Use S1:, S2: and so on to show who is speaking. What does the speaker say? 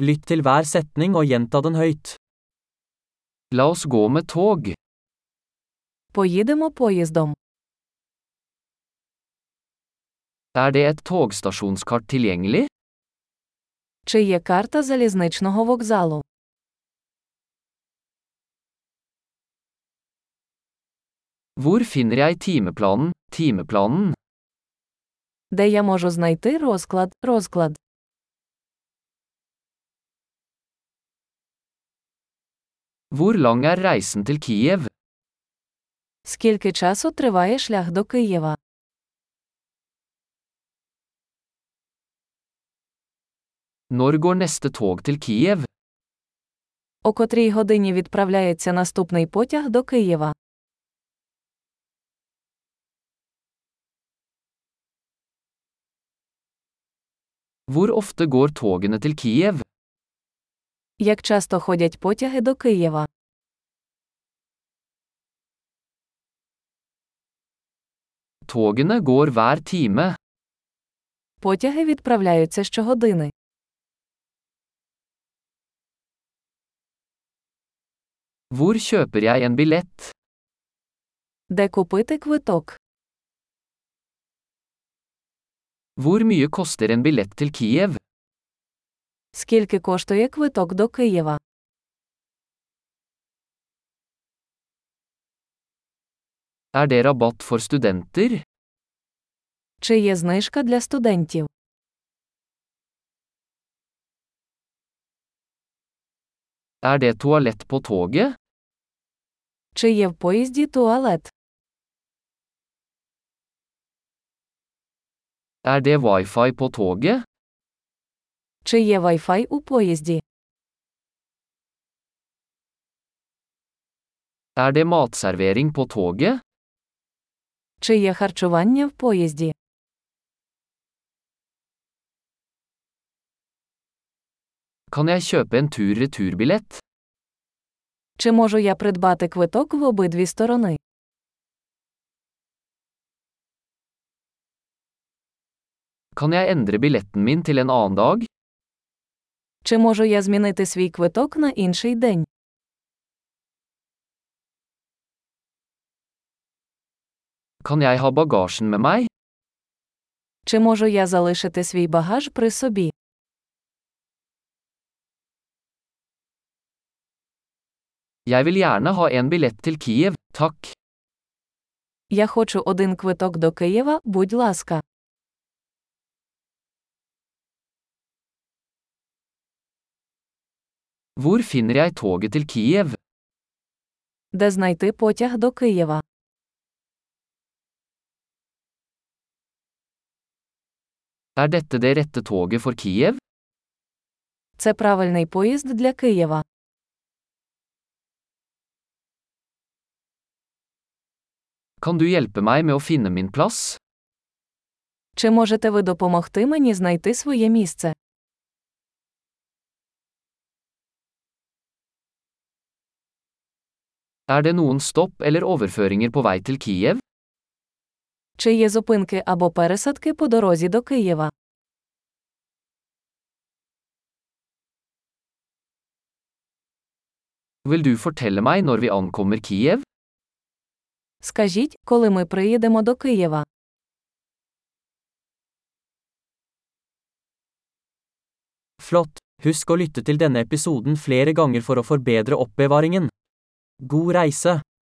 S1: Lytt til hver setning og gjenta den høyt. La oss gå med tog.
S2: Поїдемо поїздом.
S1: Er det et togstasjonskart tilgjengelig?
S2: Чи є карта залізничного вокзалу?
S1: Hvor finner jeg timeplanen, timeplanen?
S2: Де я можу знайти розклад, розклад?
S1: Hvor lang er reisen til Kiev?
S2: Скільки часу триває шлях до Києва?
S1: Når går neste tog til Kiev?
S2: О котрій годині відправляється наступний потяг до Києва?
S1: Hvor ofte går togene til Kiev?
S2: Як часто ходять потяги до Києва?
S1: Togene går hver time.
S2: Потяги відправляються щогодини.
S1: Hvor kjøper jeg en billett?
S2: Де купити квиток?
S1: Hvor mye koster en billett til Kiev?
S2: Скільки коштує квиток до Києва?
S1: Er det rabatt for studenter?
S2: Чи є знижка для студентів?
S1: Er det toalett på toget?
S2: Чи є в поїзді туалет?
S1: Er det wifi på toget?
S2: Чи є Wi-Fi у поїзді?
S1: Er det matservering på toget?
S2: Чи є харчування в поїзді?
S1: Kan jeg kjøpe en tur-returbillett?
S2: Чи можу я придбати квиток в обидві сторони?
S1: Kan jeg endre billetten min til en annen dag?
S2: Чи можу я змінити свій квиток на інший день?
S1: Kan jeg ha bagasjen med meg?
S2: Чи можу я залишити свій багаж при собі?
S1: Jeg vil gjerne ha en billett til Kiev, takk.
S2: Я хочу один квиток до Києва, будь ласка.
S1: Hvor finner jeg toget til Kiev?
S2: Де знайти потяг до Києва?
S1: Er dette det rette toget for Kiev?
S2: Це правильний поїзд для Києва.
S1: Kan du hjelpe meg med å finne min plass?
S2: Чи можете ви допомогти мені знайти своє місце?
S1: Er det noen stopp eller overføringer på vei til Kiev?
S2: Чи є зупинки або пересадки по дорозі до Києва?
S1: Vil du fortelle meg når vi ankommer Kiev?
S2: Скажіть, коли ми приїдемо до Києва?
S1: Flott! Husk å lytte til denne episoden flere ganger for å forbedre oppbevaringen. God reise!